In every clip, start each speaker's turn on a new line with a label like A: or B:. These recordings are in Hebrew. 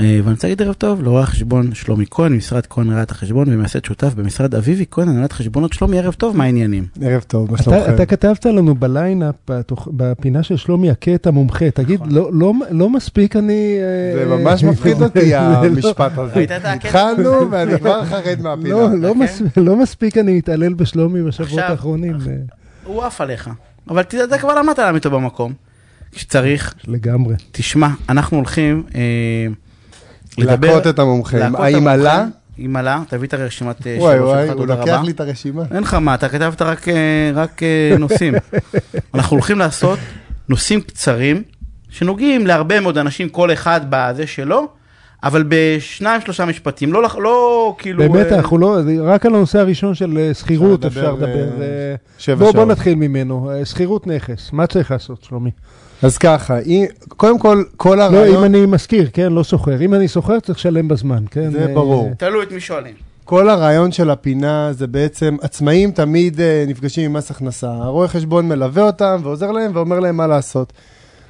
A: אה, ואני רוצה להגיד ערב טוב לרואה החשבון שלומי כהן, משרד כהן ראיית החשבון ומייסד שותף במשרד אביבי כהן, הנהלת חשבונות. שלומי, ערב טוב, מה העניינים?
B: ערב טוב, מה
C: אתה, אתה
B: שלומכם?
C: כתבת לנו בליינאפ, בתוכ- בפינה של שלומי הקטע מומחה, תגיד, לא, לא, לא מספיק אני... אה,
B: נכון. זה ממש מפחיד אותי
C: זה לא-
B: המשפט הזה.
A: ראית את הקטע?
B: כן. התחלנו ואני כבר חרד מהפינה.
C: לא, לא,
A: אוקיי.
C: מס- לא מספיק אני מתעלל בשלומי בשבועות
A: עכשיו,
C: האחרונים, אה,
A: הוא עף עליך, אבל תדע, אתה כבר למדת להעמיד אותו במקום. כשצריך,
C: לגמרי.
A: תשמע, אנחנו הולכים אה,
B: להכות את המומחים.
A: להכות את
B: האם עלה?
A: המומחן. אם עלה, תביא את הרשימת אה,
B: וואי
A: שלו
B: וואי,
A: שלך,
B: הוא
A: תודה
B: לוקח
A: רבה.
B: לי את הרשימה.
A: אין לך מה, אתה כתבת רק, אה, רק אה, נושאים. אנחנו הולכים לעשות נושאים קצרים, שנוגעים להרבה מאוד אנשים, כל אחד בזה שלו, אבל בשניים שלושה משפטים, לא, לח- לא כאילו...
C: באמת,
A: אה,
C: אנחנו לא, זה- רק על הנושא הראשון של אה, שכירות
B: אפשר
C: אפשר
B: לדבר,
C: לדבר.
B: אה,
C: אה,
B: שבע
C: בוא, בוא
B: שעות.
C: נתחיל ממנו, אה, שכירות נכס, מה צריך לעשות, שלומי?
B: אז ככה, אם- קודם כל, כל
C: לא, אם
B: הרעיון...
C: אני משכיר, כן, לא סוחר. אם אני סוחר, צריך לשלם בזמן, כן?
B: זה
C: אה,
B: ברור.
A: תלוי את מי שואלים.
B: כל הרעיון של הפינה זה בעצם, עצמאים תמיד אה, נפגשים עם מס הכנסה. הרואה חשבון מלווה אותם ועוזר להם ואומר להם מה לעשות.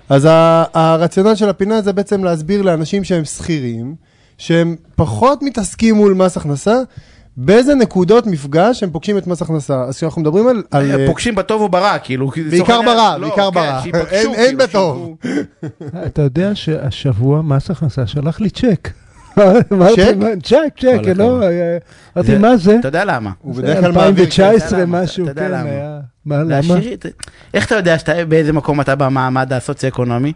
B: אז ה- הרציונל של הפינה זה בעצם להסביר לאנשים שהם שכירים, שהם פחות מתעסקים מול מס הכנסה, באיזה נקודות מפגש הם פוגשים את מס הכנסה. אז כשאנחנו מדברים על... על אה,
A: פוגשים בטוב או ברע, כאילו. כי לצורך
B: בעיקר
A: העניין-
B: ברע,
A: לא,
B: בעיקר
A: כן,
B: ברע.
A: שיפגשו,
B: אין-
A: כאילו,
B: אין בטוב.
A: שיראו.
C: אתה יודע שהשבוע מס הכנסה שלח לי צ'ק.
B: צ'ק?
C: צ'ק, צ'ק,
A: כל הכבוד.
C: לא, אה, אמרתי,
A: זה-
C: מה זה?
A: אתה יודע למה.
B: הוא
C: זה
B: בדרך כלל מעביר... כסף.
C: 2019
A: למה,
C: משהו,
A: אתה יודע
C: כן,
A: למה.
C: היה. מה, למה?
A: לעשירים, ת- איך אתה יודע שאתה- באיזה מקום אתה במעמד הסוציו-אקונומי?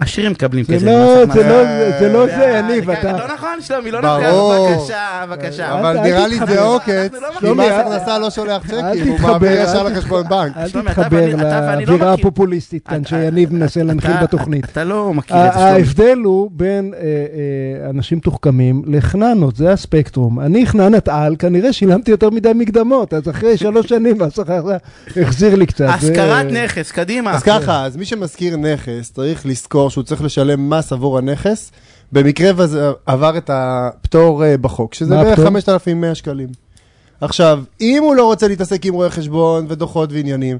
A: עשירים מקבלים
C: זה
A: כסף.
C: לא
A: ממס
C: זה, לא,
A: הכנסה.
C: זה לא זה,
A: אה,
C: יניב, אתה...
A: לא נכון, שלומי, לא נכון.
B: ברור.
A: בבקשה, בבקשה.
B: אבל
C: אל
B: נראה לי
C: תתחבר.
B: זה עוקץ,
A: אנחנו לא
B: כי
C: מכירים.
B: מס
C: אל-
B: הכנסה לא שולח
C: אל
B: צ'קים, הוא
C: תתחבר,
B: מעביר
C: אל
B: ישר
C: תתח-
B: לחשבון בנק.
C: אל
A: שלומי, אתה ואני-
C: תתחבר
A: אתה ואני לא
C: לאווירה
A: מכיר.
C: הפופוליסטית כאן
A: אתה-
C: שיניב מנסה להנחיל
A: אתה-
C: בתוכנית.
A: אתה לא מכיר את
C: ה-
A: השלומי.
C: ההבדל הוא בין אה, אה, אנשים מתוחכמים לחננות, זה הספקטרום. אני חננת על, כנראה שילמתי יותר מדי מקדמות, אז אחרי שלוש שנים השכר החזיר לי קצת.
A: השכרת
C: זה-
A: נכס, קדימה.
B: אז ככה, אז מי שמשכיר נכס, צריך לזכור שהוא צריך לשלם מס עבור הנכס, במקרה וזה עבר את הפטור אה, בחוק, שזה
C: מה
B: בערך
C: הפטור?
B: 5,100 שקלים. עכשיו, אם הוא לא רוצה להתעסק עם רואי חשבון ודוחות ועניינים,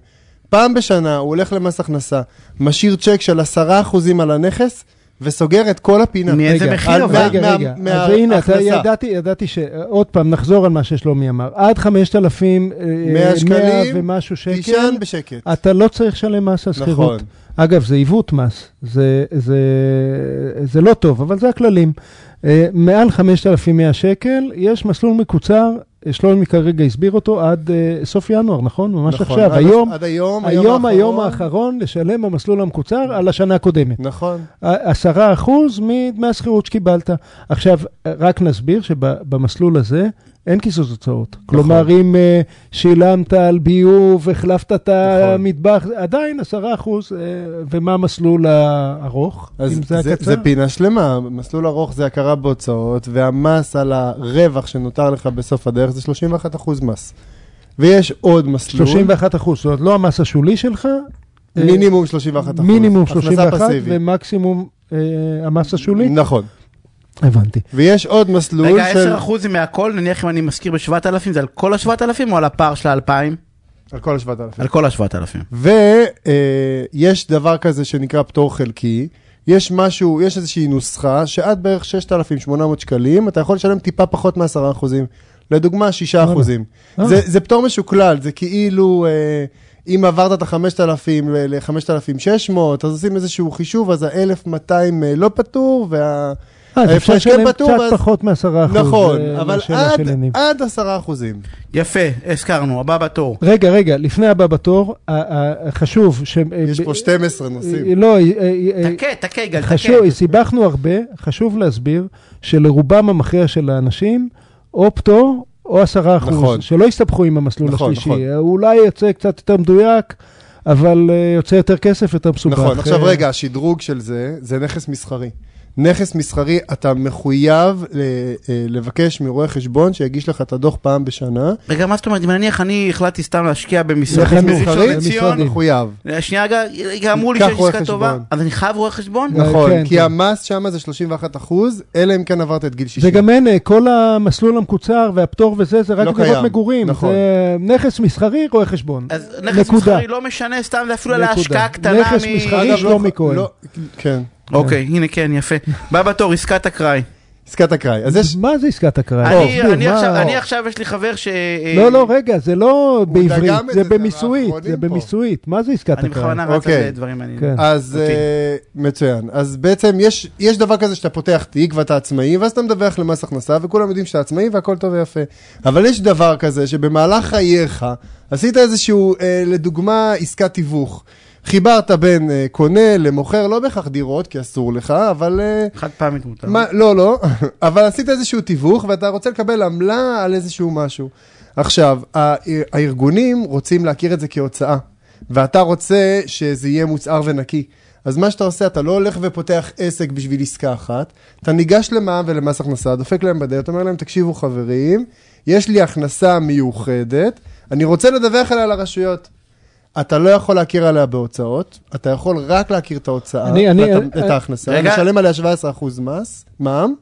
B: פעם בשנה הוא הולך למס הכנסה, משאיר צ'ק של 10% על הנכס, וסוגר את כל הפינה.
A: מאיזה
C: רגע,
A: מחיר
B: על-
A: אבל?
B: מה-
C: רגע,
B: מה-
C: רגע,
B: מה-
C: אז הנה, אתה
B: מההכנסה.
C: ידעתי, ידעתי ש... עוד פעם, נחזור על מה ששלומי אמר. עד 5,000, אה,
B: 100 שקלים,
C: ומשהו שקל,
B: תישן בשקט.
C: אתה לא צריך לשלם מס על
B: נכון.
C: שכירות. אגב, זה עיוות מס, זה, זה, זה לא טוב, אבל זה הכללים. אה, מעל 5,100 שקל, יש מסלול מקוצר, אה, שלומי כרגע הסביר אותו, עד אה, סוף ינואר, נכון? ממש
B: נכון.
C: עכשיו,
B: עד-
C: היום,
B: עד היום,
C: היום, היום האחרון, לשלם במסלול המקוצר על השנה הקודמת.
B: נכון.
C: עשרה אחוז מדמי השכירות שקיבלת. עכשיו, רק נסביר שבמסלול הזה אין קיזוז הוצאות.
B: נכון.
C: כלומר, אם אה, שילמת על ביוב, החלפת את
B: נכון.
C: המטבח, עדיין עשרה אחוז, אה, ומה המסלול הארוך?
B: אז
C: אם זה
B: זה,
C: הקצר?
B: זה פינה שלמה, מסלול ארוך זה הכרה בהוצאות, והמס על הרווח שנותר לך בסוף הדרך זה 31% מס. ויש עוד מסלול,
C: 31 אחוז, זאת אומרת, לא המס השולי שלך. אה,
B: מינימום 31%.
C: מינימום
B: הכנסה
C: 31
B: פסיבית.
C: ומקסימום אה, המס השולי.
B: נכון.
C: הבנתי.
B: ויש עוד מסלול
A: רגע,
B: של...
A: 10% זה מהכל, נניח אם אני משכיר ב-7,000, זה על כל ה-7,000 או על הפער של ה-2,000?
B: על כל ה-7,000.
A: על כל ה-7,000.
B: ויש דבר כזה שנקרא פטור חלקי. יש משהו, יש איזושהי נוסחה שעד בערך 6,800 שקלים, אתה יכול לשלם טיפה פחות מ-10%. לדוגמה, 6%.
C: אה.
B: זה, זה פטור משוקלל, זה כאילו, אה, אם עברת את ה-5,000 ל-5,600, אז עושים איזשהו חישוב, אז ה-1,200 אה, לא פטור, וה...
C: אה, אז אפשר
B: ההפרש כן
C: לשלם
B: פטור,
C: קצת
B: ואז-
C: פחות מ-10 אחוז.
B: נכון,
C: אה,
B: אבל
C: מהשאלה
B: עד,
C: של יניב.
B: עד 10%.
A: יפה, הזכרנו, הבא בתור.
C: רגע, רגע, לפני הבא בתור, ה- ה- חשוב ש...
B: יש פה 12 נושאים.
C: לא, אה, אה, אה,
A: תכה, תכה, יגאל, תכה.
C: חשוב, סיבכנו הרבה, חשוב להסביר שלרובם המכריע של האנשים, או פטור או עשרה
B: נכון.
C: אחוז, שלא יסתבכו עם המסלול
B: נכון,
C: השלישי. אה,
B: נכון.
C: אולי יוצא קצת יותר מדויק, אבל אה, יוצא יותר כסף, יותר מסובך.
B: נכון, עכשיו
C: אה,
B: רגע, השדרוג של זה, זה נכס מסחרי. נכס מסחרי, אתה מחויב ל- אה, לבקש מרואה חשבון שיגיש לך את הדוח פעם בשנה.
A: רגע, מה זאת אומרת, אם נניח אני החלטתי סתם להשקיע במשרדים
B: נכס
C: חנות,
A: בראשון
B: מסחרי,
A: לציון, אה,
C: משרדים.
B: מחויב.
A: שנייה, רגע, רגע, אמרו לי
B: קח
A: שיש
B: רואה
A: עסקה טובה,
B: חשבון.
A: אז אני חייב רואה חשבון?
C: לא.
B: נכון,
C: כן,
B: כי
C: כן.
B: המס שם זה 31 אחוז, אלא אם כן עברת את גיל 60.
C: וגם אין, אה, כל המסלול המקוצר והפטור וזה, זה רק
B: לא
C: דירות
B: קיים,
C: מגורים.
B: נכון.
C: זה נכס מסחרי, רואה חשבון.
A: אז נכס
C: נקודה.
A: מסחרי לא משנה, סתם זה אפילו על
C: נקודה.
A: ההשקעה הקטנה
C: נכס
A: מ...
C: מסחרי. חריש
B: אגב,
C: שלומי כהן.
B: לא- כן.
A: אוקיי, הנה כן, יפה. בא בתור עסקת אקראי.
B: עסקת אקראי. אז יש...
C: מה זה עסקת אקראי?
A: אני-
C: תסביר,
A: אני
C: מה-
A: עכשיו- אני עכשיו, יש לי חבר ש... אה,
C: לא, לא, רגע, זה לא
B: הוא
C: בעברית,
B: דגם את
C: זה
B: זה, זה
C: במיסויית,
B: מהאחרונים
C: זה
B: פה.
C: במיסויית. מה זה עסקת
A: אני
C: אקראי?
A: בכוונה רץ
B: אוקיי.
A: על דברים מעניינים.
C: כן.
B: אז
A: אותי.
B: אה, מצוין. אז בעצם יש, יש דבר כזה שאתה פותח תיק ואתה עצמאי, ואז אתה מדווח למס הכנסה, וכולם יודעים שאתה עצמאי והכל טוב ויפה. אבל יש דבר כזה שבמהלך חייך עשית איזשהו, אה, לדוגמה, עסקת תיווך. חיברת בין אה, קונה למוכר, לא בהכרח דירות, כי אסור לך, אבל... אה,
A: חד פעמית מותר.
B: מה, לא, לא, אבל עשית איזשהו תיווך ואתה רוצה לקבל עמלה על איזשהו משהו. עכשיו, הא- הארגונים רוצים להכיר את זה כהוצאה, ואתה רוצה שזה יהיה מוצהר ונקי. אז מה שאתה עושה, אתה לא הולך ופותח עסק בשביל עסקה אחת, אתה ניגש למע"מ ולמס הכנסה, דופק להם בדלת, אומר להם, תקשיבו חברים, יש לי הכנסה מיוחדת, אני רוצה לדווח עליה לרשויות. אתה לא יכול להכיר עליה בהוצאות, אתה יכול רק להכיר את ההוצאה,
C: אני- אני-
B: ואת-
C: אני-
B: את ההכנסה,
A: רגע.
B: לשלם עליה 17% מס, מע"מ,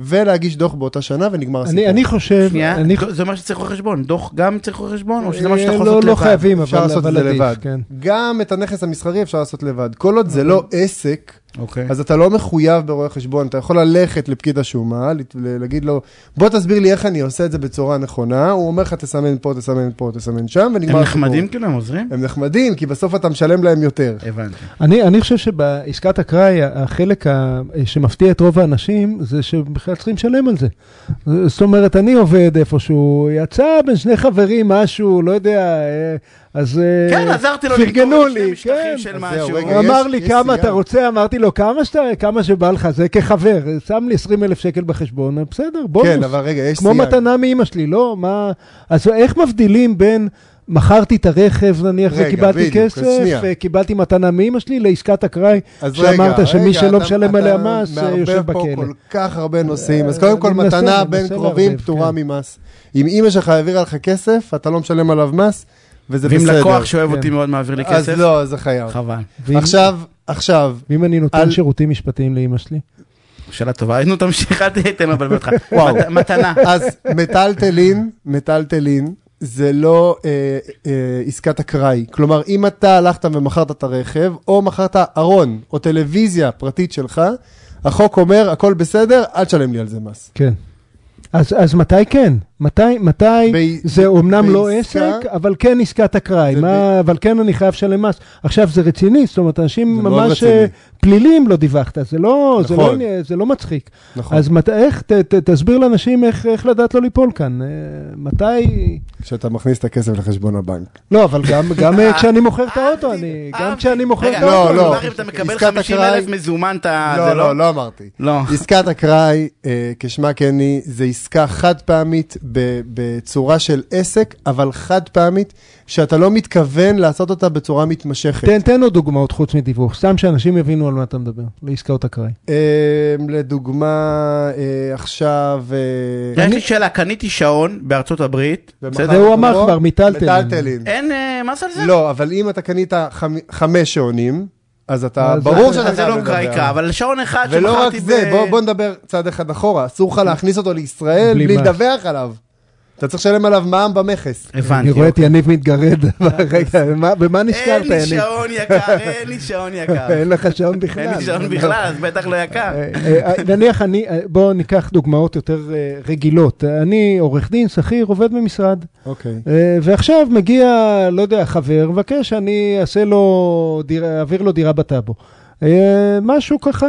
B: ולהגיש דוח באותה שנה ונגמר הסיפור.
C: אני- אני חושב,
A: שנייה,
C: אני
A: זה אומר שצריך רואה חשבון. דוח גם צריך רואה חשבון, או שזה מה שאתה
C: אה,
A: יכול
C: לא-
A: לעשות לבד?
C: לא חייבים,
B: אפשר
C: אבל
B: לעשות את
C: אבל
B: זה
C: עדיף,
B: לבד.
C: כן.
B: גם את הנכס המסחרי אפשר לעשות לבד. כל עוד זה לא עסק,
A: אוקיי.
B: אז אתה לא מחויב ברואה חשבון, אתה יכול ללכת לפקיד השומה, לת- ל- להגיד לו, בוא תסביר לי איך אני עושה את זה בצורה נכונה, הוא אומר לך, תסמן פה, תסמן פה, תסמן שם, ונגמר
A: הם
B: הסיפור.
A: נחמדים כאילו, הם עוזרים?
B: הם נחמדים, כי בסוף אתה משלם להם יותר.
C: אה,
A: הבנתי.
C: אני, אני חושב שבעסקת אקראי, החלק ה, שמפתיע את רוב האנשים, זה שבכלל צריכים לשלם על זה. זאת אומרת, אני עובד איפשהו, יצא בין שני חברים משהו, לא יודע, אה, אז... אה,
A: כן, עזרתי לו
C: פרגנו
A: למכור את שני
C: לי, כן.
A: משטחים של
B: אז
A: משהו.
B: זהו, רגע,
C: הוא
B: יש-
C: אמר לי
B: יש
C: כמה
B: סיגר.
C: אתה רוצה, אמרתי לו כמה שאתה, כמה שבא לך, זה כחבר, שם לי 20 אלף שקל בחשבון, בסדר, בונוס.
B: כן, אבל רגע, יש
C: כמו
B: סייג.
C: מתנה מאימא שלי, לא? מה... אז איך מבדילים בין מכרתי את הרכב נניח
B: רגע,
C: וקיבלתי
B: בדיוק, אז
C: כסף,
B: שנייה.
C: אה, קיבלתי מתנה מאימא שלי לעסקת אקראי,
B: אז רגע,
C: שאמרת שמי
B: רגע,
C: שלא
B: אתה-
C: משלם
B: אתה
C: עליה מס, אה,
B: מערבב
C: יושב
B: פה
C: בכלא.
B: כל כך הרבה נושאים, אז
C: אה,
B: קודם כל
C: אני מנסה,
B: מתנה
C: אני
B: בין
C: מנסה
B: קרובים
C: לערבב,
B: פטורה
C: כן.
B: ממס. אם אימא שלך העבירה לך כסף, אתה לא משלם עליו מס, וזה
A: ואם
B: בסדר.
A: לקוח שאוהב אותי
C: כן.
A: מאוד מעביר לי
B: אז
A: כסף?
B: לא, זה חייב.
A: חבל.
C: ואם-
B: עכשיו, עכשיו,
C: ואם אני נותן
B: על-
C: שירותים משפטיים לאימא שלי?
A: שאלה טובה. נו, תמשיך, אל תהיה, תן לו לבלבל אותך.
B: וואו.
A: מת- מתנה.
B: אז מטלטלין, מטלטלין, זה לא אה, אה, עסקת אקראי. כלומר, אם אתה הלכת ומכרת את הרכב, או מכרת ארון, או טלוויזיה פרטית שלך, החוק אומר, הכל בסדר, אל תשלם לי על זה מס.
C: כן. אז, אז מתי כן? מתי, מתי
B: ב-
C: זה אומנם לא
B: בעסקה-
C: עסק, אבל כן עסקת אקראי,
B: זה
C: מה- אבל כן אני חייב לשלם מס. עכשיו זה רציני, זאת אומרת, אנשים
B: זה מאוד
C: ממש
B: רציני.
C: אה, פלילים לא דיווחת, זה לא, זה לא,
B: נכון.
C: עני- זה לא מצחיק.
B: נכון.
C: אז מת, איך, ת, ת, תסביר לאנשים איך, איך לדעת לא ליפול כאן, אה, מתי...
B: כשאתה מכניס את הכסף לחשבון הבנק.
C: לא, אבל גם, גם אה, כשאני מוכר את האוטו, אני, גם
A: אהבתי.
C: כשאני מוכר את
A: רגע,
B: לא,
C: האוטו,
A: אבל
B: לא.
A: כבר אם אתה מקבל
B: עסקת
A: 50
B: אקראי-
A: אלף מזומן, אתה...
C: אה,
A: זה
B: לא, לא, לא אמרתי.
A: לא.
B: עסקת אקראי, אה, כשמה כן היא, זה עסקה חד פעמית ב- בצורה של עסק, אבל חד פעמית, שאתה לא מתכוון לעשות אותה בצורה מתמשכת.
C: תן, תן עוד דוגמאות חוץ מדיווח, סתם שאנשים יבינו על מה אתה מדבר, לעסקאות אקראי.
B: אה, לדוגמה, אה, עכשיו... אה,
A: יש לי שאלה, קניתי שעון בארצות הברית,
B: ומכרת
A: בסדר?
C: כן. זה הוא אמר
B: אותו,
C: כבר, מיטלטלין.
B: מיטלטלין.
A: אין אה, מס על זה?
B: לא, אבל אם אתה קנית חמ- חמש שעונים, אז אתה,
C: אז
B: ברור
C: אה, זה-
B: שאתה
A: אז זה
B: חייב
A: לא
B: לדווח.
A: קראיקה, אבל שעון אחד שמכרתי ב...
B: ולא רק זה, בוא, בוא נדבר צעד אחד אחורה, אסור לך להכניס אותו לישראל בלי,
C: בלי
B: בלי
C: מס.
B: לדווח עליו. אתה צריך לשלם עליו מע"מ במכס.
A: הבנתי. אוקיי.
C: אני רואה את יניב מתגרד, רגע, מה- במה
A: אין
C: נזכרת,
A: לי
C: יניב?
A: שעון יקר, אין לי שעון יקר.
C: אין לך שעון בכלל.
A: אין לי שעון בכלל, אז בטח לא יקר.
C: אה, אה, אה, נניח אני, אה, בואו ניקח דוגמאות יותר אה, רגילות. אה, אני עורך דין, שכיר, עובד במשרד,
B: אוקיי.
C: אה, ועכשיו מגיע, לא יודע, חבר, מבקש שאני אעשה לו, דירה- אעביר לו דירה בטאבו. אה, משהו ככה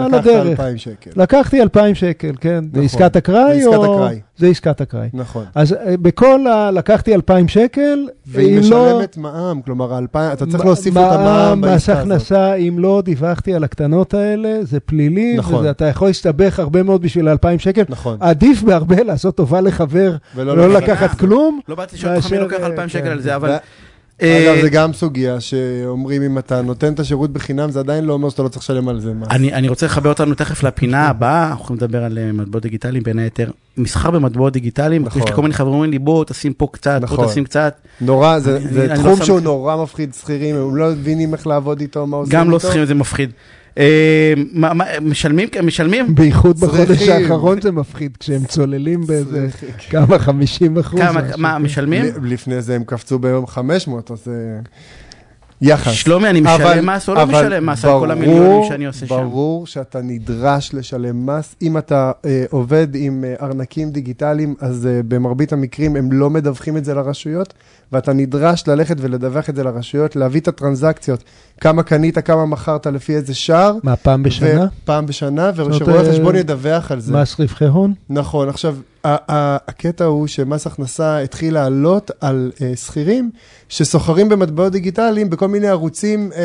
C: על
B: לקחת
C: הדרך.
B: 2,000 שקל.
C: לקחתי 2,000 שקל, כן. זה
B: נכון.
C: עסקת אקראי
B: זה עסקת
C: או...
B: אקראי.
C: זה עסקת אקראי.
B: נכון.
C: אז אה, בכל ה... לקחתי 2,000 שקל,
B: והיא
C: אם לא-
B: משלמת מע"מ, כלומר, האלפיים- אתה צריך להוסיף את המע"מ
C: מס
B: בעסקה הזאת.
C: הכנסה, אם לא דיווחתי על הקטנות האלה, זה פלילי,
B: נכון.
C: וזה- אתה יכול להסתבך הרבה מאוד בשביל 2,000 שקל.
B: נכון.
C: עדיף בהרבה לעשות טובה לחבר,
B: ולא
C: לא
B: לקחת.
C: לקחת כלום.
A: לא באתי לשאול אותך מי
C: מאשר,
A: לוקח
C: אה, לא,
A: 2,000 שקל
C: כן.
A: על זה, אבל...
B: אגב,
A: אה,
B: זה גם סוגיה שאומרים, אם אתה נותן את השירות בחינם, זה עדיין לא אומר שאתה לא צריך לשלם על זה מס.
A: אני, אני רוצה לחבר אותנו תכף לפינה הבאה, אנחנו יכולים לדבר על אה, מטבעות דיגיטליים בין היתר. מסחר במטבעות דיגיטליים,
B: נכון.
A: יש לי כל מיני חברים אומרים לי בוא תשים פה קצת,
B: נכון.
A: פה תשים קצת,
B: נורא, זה
A: אני-
B: זה
A: אני לא
B: תחום
A: שם-
B: שהוא נורא מפחיד שכירים, הם לא מבינים איך לעבוד איתו, מה עושים איתו.
A: גם לא שכירים זה מפחיד. אה, מה- מה, משלמים? משלמים?
C: בייחוד
B: צריכים.
C: בחודש האחרון זה מפחיד, כשהם צוללים באיזה
B: כן.
C: כמה 50 אחוז.
A: כמה,
C: משהו.
A: מה, משלמים?
B: ל- לפני זה הם קפצו ביום 500, אז... אה, יחס.
A: שלומי, אני
B: אבל-
A: משלם מס או לא
B: אבל
A: משלם מס על כל
B: ברור-
A: המיליונים שאני עושה שם?
B: ברור שאתה נדרש לשלם מס. אם אתה אה, עובד עם אה, ארנקים דיגיטליים, אז אה, במרבית המקרים הם לא מדווחים את זה לרשויות, ואתה נדרש ללכת ולדווח את זה לרשויות, להביא את הטרנזקציות, כמה קנית, כמה מכרת, לפי איזה שער.
C: מה, פעם בשנה?
B: פעם בשנה,
C: זאת אומרת,
B: ורואה
C: אה,
B: חשבון ידווח על זה.
C: מס רווחי הון?
B: נכון, עכשיו, ה- ה- הקטע הוא שמס הכנסה התחיל לעלות על אה, שכירים שסוחרים במטבעות דיגיטליים בכל מיני ערוצים אה,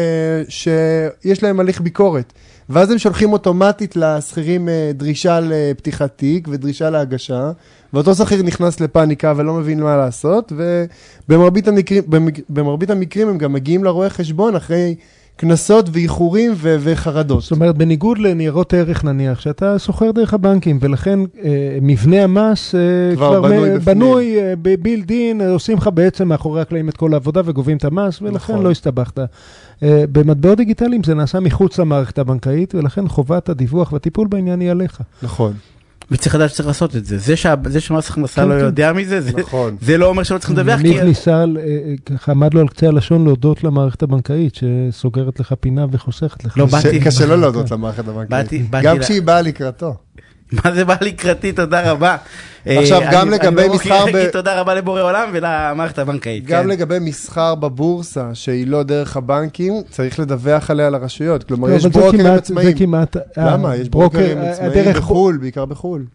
B: שיש להם הליך ביקורת. ואז הם שולחים אוטומטית לשכירים אה, דרישה לפתיחת תיק ודרישה להגשה, ואותו שכיר נכנס לפאניקה ולא מבין מה לעשות, ובמרבית המקרים, במק- במרבית המקרים הם גם מגיעים לרואה חשבון אחרי קנסות ואיחורים ו- וחרדות.
C: זאת אומרת, בניגוד לניירות ערך נניח, שאתה סוחר דרך הבנקים, ולכן אה, מבנה המס אה,
B: כבר
C: כבר
B: בנוי
C: מ-
B: בפנים.
C: בנוי אה, בבילד אין, אה, עושים לך בעצם מאחורי הקלעים את כל העבודה וגובים את המס, ולכן
B: נכון.
C: לא הסתבכת. אה, במטבעות דיגיטליים זה נעשה מחוץ למערכת הבנקאית, ולכן חובת הדיווח והטיפול בעניין היא עליך.
B: נכון,
A: וצריך לדעת שצריך לעשות את זה. זה שה- זה שמס הכנסה
C: כן,
A: לא
C: כן.
A: יודע מזה, זה-
B: נכון.
A: זה לא אומר שלא צריכים לדווח,
C: ניב
A: כי
C: ניסה, על- אה, אה, ככה עמד לו על קצה הלשון להודות למערכת הבנקאית, שסוגרת לך פינה וחוסכת לך.
A: לא,
C: זמן.
A: באתי-
B: קשה לא להודות למערכת הבנקאית.
A: באתי, באתי,
B: גם
A: לה-
B: כשהיא באה לקראתו.
A: מה זה בא לקראתי, תודה רבה.
B: עכשיו,
A: אה,
B: גם
A: אני-
B: לגבי
A: אני לא
B: מסחר
A: מוכרח להגיד
B: ב-
A: תודה רבה לבורא עולם ולמערכת הבנקאית.
B: גם
A: כן.
B: לגבי מסחר בבורסה, שהיא לא דרך הבנקים, צריך לדווח עליה לרשויות. כלומר,
C: לא,
B: יש
C: אבל זה
B: ברוקרים
C: כמעט-
B: עצמאים.
C: זה כמעט...
B: למה?
C: אה,
B: יש
C: ברוקר-
B: ברוקרים
C: אה,
B: עצמאים
C: הדרך-
B: בחו"ל, בעיקר בחו"ל.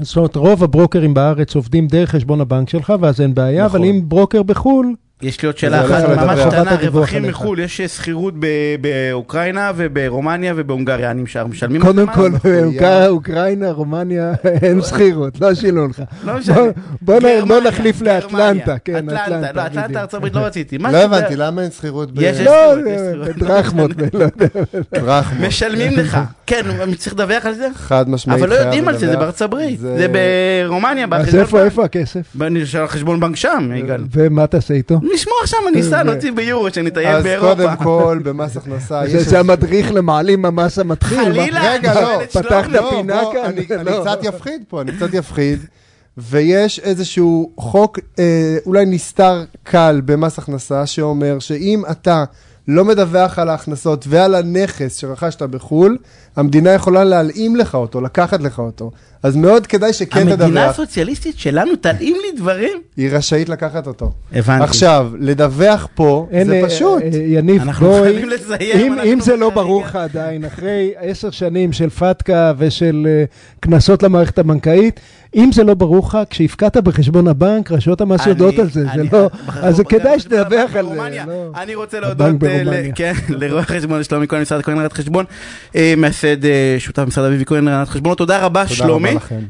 C: זאת אומרת, רוב הברוקרים בארץ עובדים דרך חשבון הבנק שלך, ואז אין בעיה,
B: נכון.
C: אבל אם ברוקר בחו"ל,
A: יש לי עוד שאלה
B: זה
A: אחת
B: הולך
A: ממש
B: לדבר.
A: קטנה,
C: חובת הדיווח
A: רווחים
C: עליך.
A: מחו"ל, יש שכירות ב- באוקראינה ומברומניה ובהונגריה, אני משער, משלמים על זה
C: קודם
A: מס?
C: כל,
B: בחוליה.
C: אה, אוקרא- אוקראינה, רומניה, אין שכירות, לא שילמו לך.
A: לא משנה.
C: בוא- בוא נ-
A: גרמניה,
C: בוא נחליף
A: גרמניה.
C: לאטלנטה, כן,
A: אטלנטה, לא,
C: בדיוק.
A: אטלנטה, ארצות הברית לא רציתי. מה
B: לא
A: שזה-
B: הבנתי, למה אין שכירות
A: יש- יש-
C: לא,
A: שכירות, יש שכירות.
C: דרחמות, לא יודע.
B: ברחמות?
A: משלמים לך. כן, אני צריך לדווח על זה?
B: חד משמעית.
A: אבל לא
B: חייב
A: יודעים על זה, זה
B: לדווח.
A: בארצות הברית.
B: זה-
A: זה ברומניה,
C: אה, אז
A: בחשבון
C: איפה, איפה הכסף?
A: בנק. אני אשאל על חשבון בנק שם, יגאל.
C: ומה תעשה איתו?
A: נשמור עכשיו, אני אסע, נוציא ביורו, שנטייל
B: אז
A: באירופה.
B: קודם כל, במס הכנסה אה, יש...
C: זה- זה המדריך למעלים המס המתחיל. מה?
A: חלילה,
B: רגע,
A: אני
B: לא,
A: שואל את שלום.
C: פתחת
A: לא.
B: לא,
C: הפינה
B: בוא,
C: כאן.
B: אני, אני
C: לא.
B: קצת יפחיד פה, אני קצת יפחיד. ויש איזשהו חוק, אה, אולי נסתר קל במס הכנסה, שאומר שאם אתה לא מדווח על ההכנסות ועל הנכס שרכשת בחו"ל, המדינה יכולה להלאים לך אותו, לקחת לך אותו. אז מאוד כדאי שכן
A: המדינה
B: כן, תדווח.
A: הסוציאליסטית שלנו, תלאים לי דברים.
B: היא רשאית לקחת אותו.
A: הבנתי.
B: עכשיו, לדווח פה
C: אין,
B: זה
C: אה,
B: פשוט.
C: אה, יניב,
A: אנחנו
C: בואי,
A: חייבים לסיים,
C: אם,
A: אנחנו
C: אם זה לא
A: בחריגה.
C: ברור לך עדיין, אחרי עשר שנים של פתקה ושל אה, קנסות למערכת הבנקאית, אם זה לא ברור לך, כשהפקעת בחשבון הבנק, רשויות המס
A: אני-
C: יודעות על זה, זה
A: אני-
C: לא,
A: בחשבון-
C: אז זה
A: בחשבון-
C: כדאי
A: בחשבון
C: שתדווח
A: הבנק
C: על זה.
A: ברומניה.
C: לא.
A: אני רוצה
C: הבנק
A: להודות אה, ל-
C: ברומניה.
A: כן, לרואה חשבון שלומי כהן ממשרד הכהן רעיית חשבון, אה, מייסד אה, שותף משרד אביבי כהן רעיית חשבונות, תודה רבה
B: תודה רבה
A: שלומי.
B: לכם.